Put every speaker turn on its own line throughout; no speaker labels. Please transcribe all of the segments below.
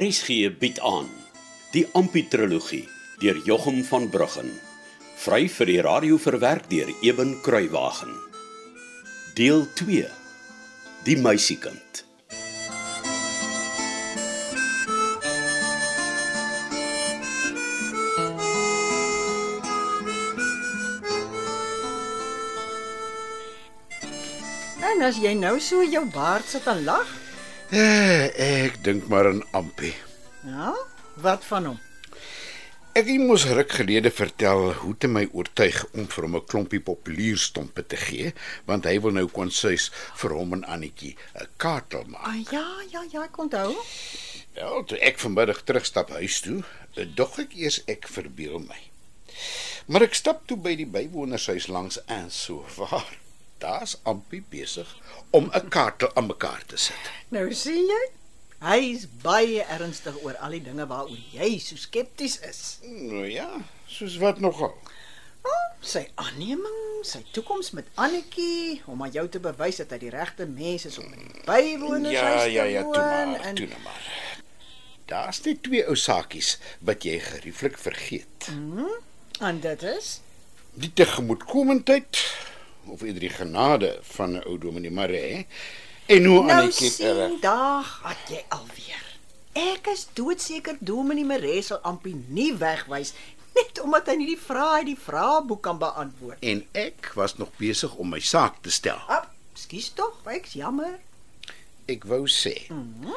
RSG bied aan die Amputrologie deur Jochum van Bruggen vry vir die radio verwerk deur Eben Kruiwagen deel 2 die meisiekind
En as jy nou so jou baard sit en lag,
Eh, ek dink maar aan Ampie.
ja, wat van hom?
Ek het mos ruk gelede vertel hoe te my oortuig om vir hom 'n klompie populier stompe te gee, want hy wil nou konsuis vir hom en Annetjie 'n kaartel maak.
Ah ja, ja, ja, ek onthou.
Ja, toe ek vanmiddag terugstap huis toe, dog ek eers ek verbeel my. Maar ek stap toe by die bywonershuis langs en so waar. Daar's Ampie besig om 'n kaartel aan mekaar te sit.
Nou sien jy, hy's baie ernstig oor al die dinge waaroor jy so skepties is.
Nou ja, soos wat nogal.
Oh, sy aanneming, sy toekoms met Annetjie, om aan jou te bewys dat hy die regte mens is om in die bywonershuis
Ja,
te
ja, ja, toe
woon
maar, toe nou maar. Daar's net twee ou saakies wat jy gerieflik vergeet.
en dit is
Die tegemoetkomendheid of eerder die genade van 'n ou dominee Maree en hoe
Nou
Annetjie
sien dag had jy alweer. Ek is doodseker Dominee Maree sal amper nie wegwys net omdat hy nie die vrae uit die vraeboek kan beantwoord.
en ek was nog besig om my saak te stel.
Ag, skus tog, ek's jammer.
Ek wou sê.
Mhm.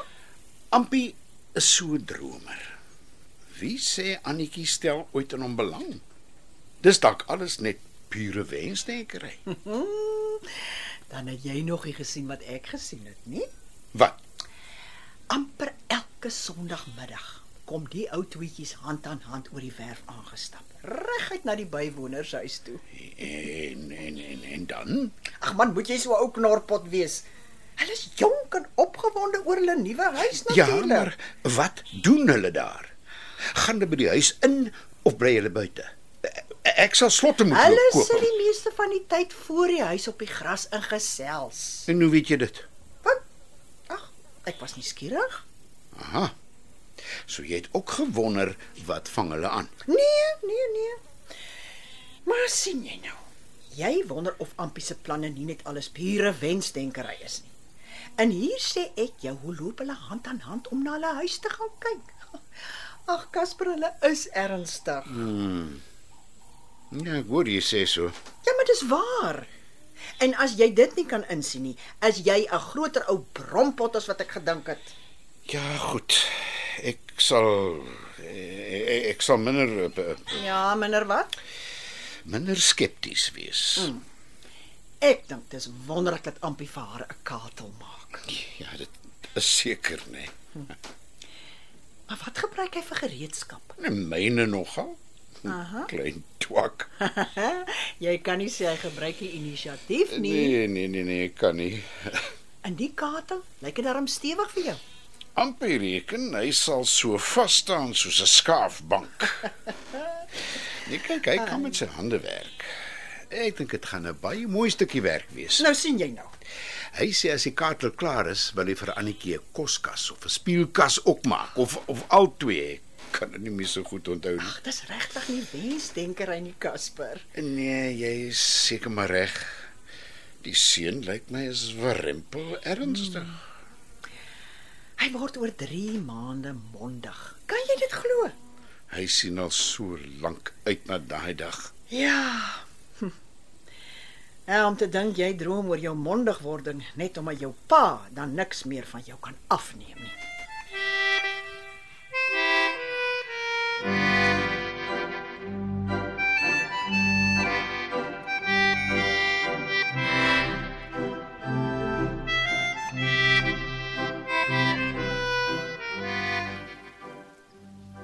Ampie is so 'n dromer. Wie sê Annetjie stel ooit in hom belang? Dis dalk alles net pure wensdenkery.
Hmm, dan het jy nog nie gesien wat ek gesien het nie.
Wat?
Amper elke Sondagmiddag kom die ou tweetjies hand aan hand oor die werf aangestap, reguit na die bywonershuis toe.
En en en, en dan?
Ag man, moet jy so 'n ou knorpot wees. Hulle is jonk en opgewonde oor hulle nuwe huis
Ja,
natuurlik.
maar wat doen hulle daar? Gaan hulle by die huis in of bly hulle buite? E- Ek sal slotte moet
Hulle
loop
sit
koop.
die meeste van die tyd voor die huis op die gras in gesels.
En hoe weet jy dit?
Wat? Ag, ek was nie skieurig.
Aha. So jy het ook gewonder wat vang hulle aan?
Nee, nee, nee. Maar sien jy nou? Jy wonder of Ampie se planne nie net alles pure wensdenkery is nie. En hier sê ek jou, hoe loop hulle hand aan hand om na hulle huis te gaan kyk? Ag Casper, hulle is ernstig.
Ja, ek hoor jy sê so.
Ja, maar dis waar. En as jy dit nie kan insien nie, as jy 'n groter ou brompot as wat ek gedink het.
Ja, goed. Ek sal ek, ek sal minder eh,
Ja, minder wat?
minder skepties wees.
Hmm. Ek dink dis wonderlik dat Ampie vir haar 'n katel maak.
Ja, dit is seker nee.
Maar wat gebruik hy vir gereedskap?
En myne nogal.
Aha.
Klein twak.
jy kan nie sê hy gebruik nie inisiatief nie. Nee.
Nee, nee, nee, nee, ek kan nie.
En die katel, lyk dit darm stewig vir jou.
Amper reken hy sal so vas staan soos 'n skaafbank. Jy kyk, hy kan met sy hande werk. Ek dink dit gaan 'n baie mooi stukkie werk wees.
Nou sien jy nou.
Hy sê as die kaartel klaar is, wil hy vir Annetjie 'n koskas of 'n speelkas ook maak of of al twee. Ek kan dit nie meer so goed onthou nie.
Ag, dis regtig nie wensdenkery nie, Casper.
Nee, jy is seker maar reg. Die seun lyk my is warempel ernstig.
Hy word oor 3 maande mondig. Kan jy dit glo?
Hy sien al so lank uit na daai dag.
Ja. Hm. Ja, om te dink jy droom oor jou mondigwording net omdat jou pa dan niks meer van jou kan afneem nie.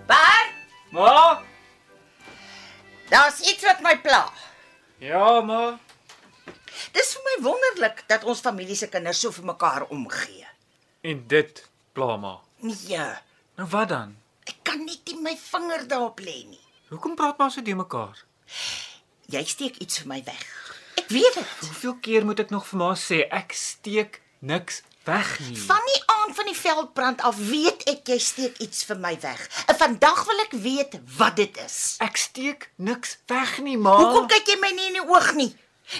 Bart,
Ma?
daar's iets wat my pla.
Ja, ma.
Dis vir my wonderlik dat ons familie se kinders so vir mekaar omgee.
En dit pla ma.
Nee,
Nou wat dan?
ek kan net nie my vinger daarop lê nie.
Hoekom praat ma so te mekaar?
Jy steek iets vir my weg. Ek weet dit.
Hoeveel keer moet ek nog vir ma sê ek steek niks weg nie.
Van die aand van die veldbrand af weet ek jy steek iets vir my weg. En vandag wil ek weet wat dit is.
Ek steek niks weg nie, ma.
Hoekom kyk jy my nie in die oog nie?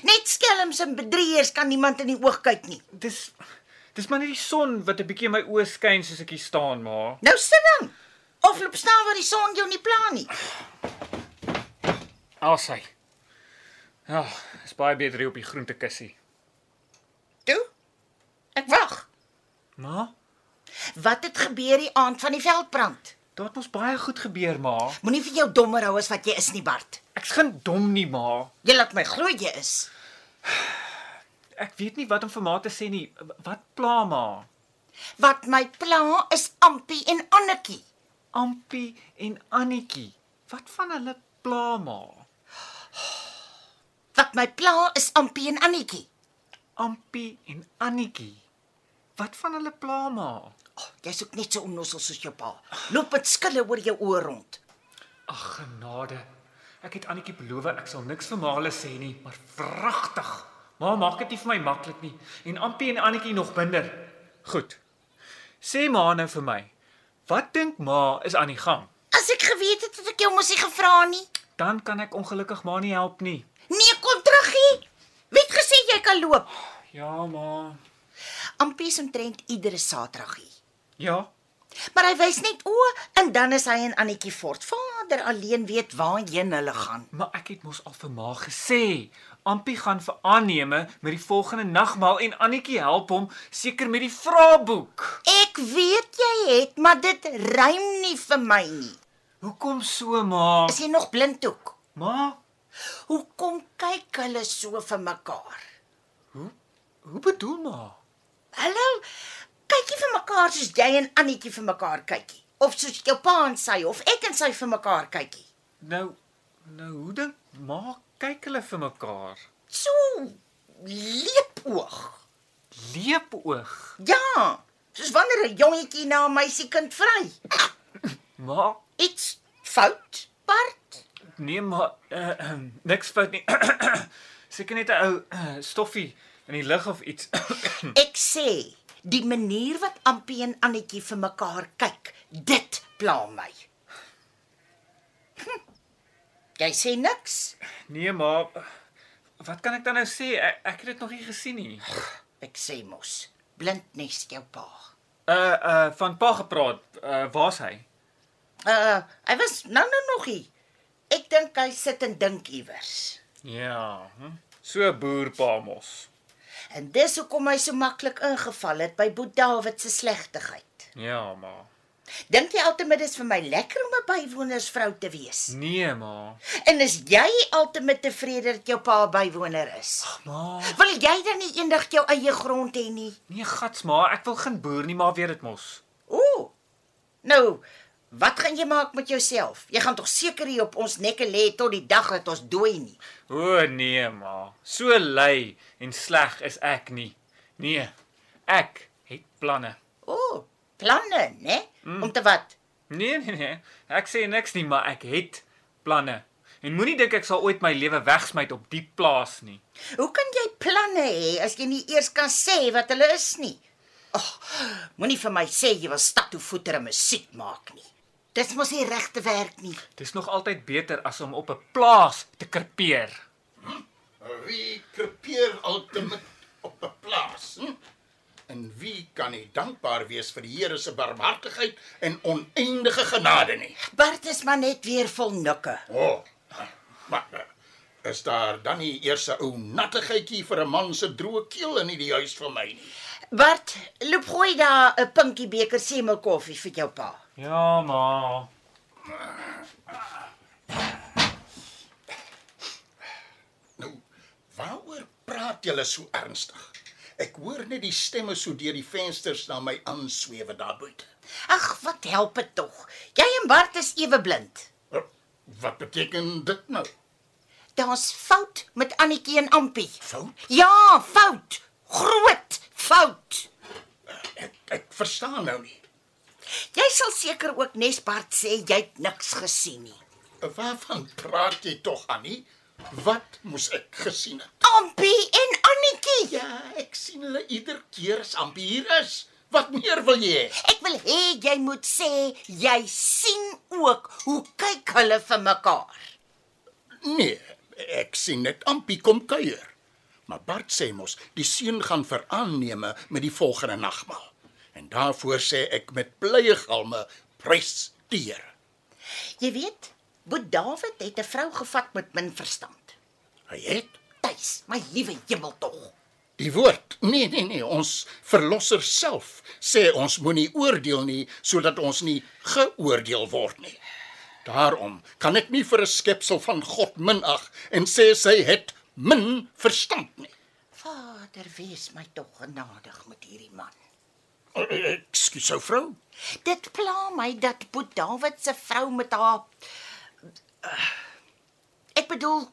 Net skelms en bedrieërs kan niemand in die oog kyk nie.
Dis dis maar net die son wat 'n bietjie in my oë skyn soos ek hier staan, ma.
Nou sit dan. Of loop staan waar die son jou nie pla nie.
Alsy. Ja, is baie beter hier op die groentekussie.
Toe. Ek wag.
Ma,
Wat het gebeur die aand van die veldbrand?
daar het ons baie goed gebeur, ma.
Moenie vir jou dommer hou as wat jy is nie, Bart.
Ek's geen dom nie, ma.
Jy laat my glo jy is.
Ek weet nie wat om vir ma te sê nie. Wat pla ma?
Wat my pla is Ampie en Annetjie.
Ampie en Annetjie. Wat van hulle pla ma?
Wat my pla is Ampie en Annetjie.
Ampie en Annetjie. Wat van hulle pla ma?
Oh, jy's ook net so onnoosel soos jou pa. Loop met skille oor jou oë rond.
Ag genade. Ek het Annetjie beloof ek sal niks vir Male sê nie, maar vragtig. Ma maak dit nie vir my maklik nie en Ampie en Annetjie nog minder. Goed. Sê ma nou vir my. Wat dink ma is aan die gang?
As ek geweet het dat ek jou mosie gevra nie.
Dan kan ek ongelukkig ma nie help nie.
Nee, kom terug hier. Wie het gesê jy kan loop?
Ja, ma.
Ampie is omtrent iedere Saterdag hier.
Ja.
Maar hy wys net o en dan is hy en Annetjie voort. Vader alleen weet waarheen hulle gaan.
Maar ek het mos al vir ma gesê, Ampie gaan vir aanneme met die volgende nagmaal en Annetjie help hom seker met die vraeboek.
Ek weet jy het, maar dit ruim nie vir my nie.
Hoekom so, ma?
Is jy nog blinddoek?
Ma,
Hoekom kyk hulle so vir mekaar?
hoe bedoel ma?
Hallo. Kykie vir mekaar soos jy en Annetjie vir mekaar kykie of soos jou pa en sy of ek en sy vir mekaar kykie.
Nou nou hoe dink ma kyk hulle vir mekaar?
So leepoog.
Leepoog.
Ja, soos wanneer 'n jongetjie na 'n meisiekind vry.
Ma,
Iets fout, Bart?
nee maar uh, uh, niks fout nie. Seker net 'n ou uh, stoffie in die lug of iets.
Ek sê, die manier wat Ampie en Annetjie vir mekaar kyk, dit pla my. Hm. Jy sê niks.
nee ma, wat kan ek dan nou sê? Ek, ek het dit nog nie gesien nie.
Ek sê mos, blindnes jou pa.
Uh uh van pa gepraat. Uh waar's hy?
Uh, hy was nou nou nog hier. Ek dink hy sit en dink iewers.
Ja. Hm? So boerpa mos.
En dis hoekom hy so maklik ingeval het by Boet Dawid se slegtigheid.
Ja ma.
Dink jy altyd dis vir my lekker om 'n bywonersvrou te wees?
Nee ma.
En is jy altyd tevrede dat jou pa 'n bywoner is?
Ma,
Wil jy dan nie eendag jou eie grond hê nie?
nee gats ma, ek wil geen boer nie, maar weet dit mos.
Ooh. Nou, wat gaan jy maak met jouself? Jy gaan tog seker hier op ons nekke lê tot die dag dat ons dooi nie.
O nee ma, so lui en sleg is ek nie. Nee, ek het planne.
Ooh, planne, né? Mm. Om te wat?
Nee nee nee, ek sê niks nie, maar ek het planne. En moenie dink ek sal ooit my lewe wegsmyt op die plaas nie.
Hoe kan jy planne hê as jy nie eers kan sê wat hulle is nie? Ag, moenie vir my sê jy wil stad toe voeter en musiek maak nie. Dis mos nie regte werk nie.
Dis nog altyd beter as om op 'n plaas te krepeer.
Wie krepeer ultimate op 'n plaas? Hm? En wie kan nie dankbaar wees vir die Here se barmhartigheid en oneindige genade nie?
Bart is maar net weer vol nikke.
O. Oh, maar eh, is daar dan nie eers 'n ou nattigheidjie vir 'n man se droë keel in hierdie huis vir my nie?
Bart, loop gooi daar 'n pinkie beker semelkoffie vir jou pa.
Ja ma.
Nou, waaroor praat julle so ernstig? Ek hoor net die stemme so deur die vensters na my aanswewe daar buite.
Ag, wat help dit tog? Jy en Bart is ewe blind.
Eh, Wat beteken dit nou?
Daar's fout met Annetjie en Ampie.
Fout?
Ja, fout. Groot fout.
Ek ek verstaan nou nie.
Jy sal seker ook nes Bart sê jy het niks gesien nie.
Waarvan praat jy tog, Annie? Wat moes ek gesien het?
Ampie en Annetjie.
Ja, ek sien hulle ieder keer as Ampie hier is. Wat meer wil jy hê?
Ek wil hê jy moet sê jy sien ook hoe kyk hulle vir mekaar.
Nee, ek sien net Ampie kom kuier. Maar Bart sê mos, die seun gaan veraanneme met die volgende nagmaal. En daarvoor sê ek met blye galme presteer.
Jy weet, Boet David het 'n vrou gevat met min verstand.
Hy het
Tuis, my liewe hemel tog.
die woord. Nee, nee, nee, ons verlosser self sê ons moenie oordeel nie sodat ons nie geoordeel word nie. Daarom kan ek nie vir 'n skepsel van God minag en sê sy het min verstand nie.
Vader, wees my tog genadig met hierdie man.
Ekskuus, ou vrou.
Dit pla my dat Boet David se vrou met haar eh, Ek bedoel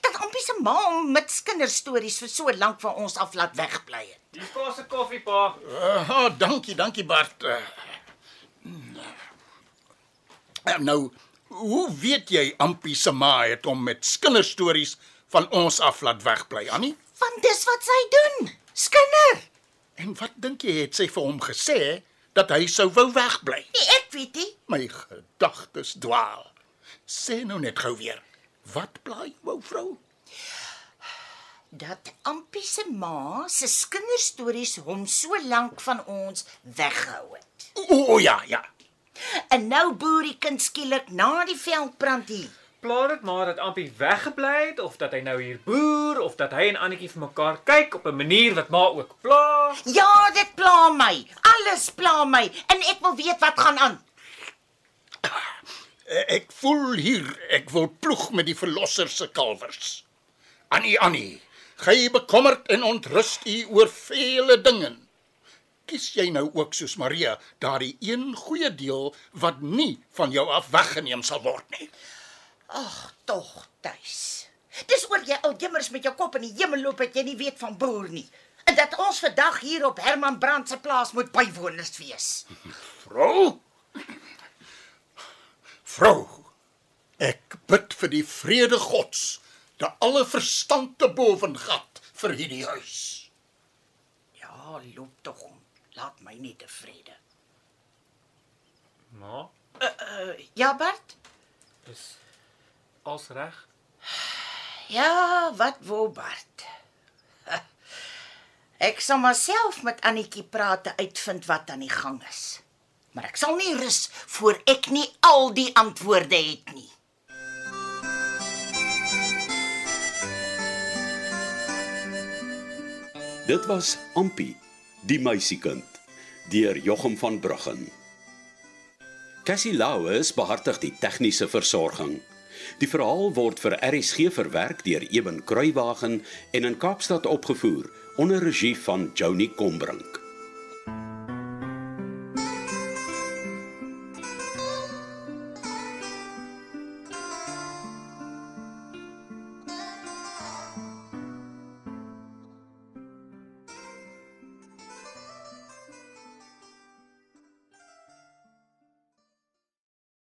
dat Ampie se ma hom met kinderstories vir so lank van ons af laat wegbly het.
Dis pa se koffie pa.
Aha, Ah, dankie, dankie Bart. Eh, mm. Eh, Nou, hoe weet jy Ampie se ma het hom met kinderstories van ons af laat wegbly, Annie?
Want dis wat sy doen. Skinder.
En wat dink jy het sy vir hom gesê dat hy sou wou wegbly?
Nee, ek weet nie.
My gedagtes dwaal. Sê nou net gou weer. Wat plaai jou, ou vrou?
dat Ampie se ma se kinderstories hom so lank van ons weggehou het.
O, o, o ja, ja.
En nou boer die kind skielik na die veldbrand hier.
Pla dit maar dat Ampie weggebly het of dat hy nou hier boer of dat hy en Annetjie vir mekaar kyk op 'n manier wat ma ook pla.
Ja, dit pla my. Alles pla my en ek wil weet wat gaan aan.
Eh, Ek voel hier ek wil ploeg met die verlosser se kalvers. Annie, Annie, gij bekommerd en ontrust u oor vele dinge. Kies jy nou ook soos Maria daardie een goeie deel wat nie van jou af weggeneem sal word nie.
Ag, tog, tuis. Dis oor jy al jimmers met jou kop in die hemel loop dat jy nie weet van boer nie. En dat ons vandag hier op Herman Brand se plaas moet bywoners wees.
Vrou? Vrou, ek bid vir die vrede Gods, dat alle verstand te boven gat vir hierdie huis.
Ja, loop tog om. Laat my nie tevrede.
Ma,
Ja, Bert?
is als reg.
Ja, wat wou Bart? Ek sal myself met Annetjie praat en uitvind wat aan die gang is. Maar ek sal nie rus voor ek nie al die antwoorde het nie.
Dit was Ampie, die meisiekind, deur Jochum van Bruggen. Cassie Lauers behartig die tegniese versorging. Die verhaal word vir RSG verwerk deur Eben Kruiwagen en in Kaapstad opgevoer onder regie van Johnny Combrink.